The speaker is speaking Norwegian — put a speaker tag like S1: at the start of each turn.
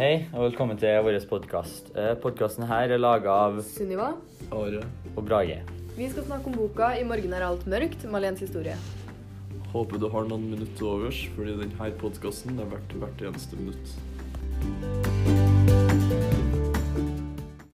S1: Hei, og velkommen til vår podkast. Podkasten her er laga av
S2: Sunniva,
S3: Are,
S1: og Brage.
S2: vi skal snakke om boka 'I morgen er alt mørkt', Malens historie.
S3: håper du har noen minutter overs, fordi denne podkasten er verdt hvert eneste minutt.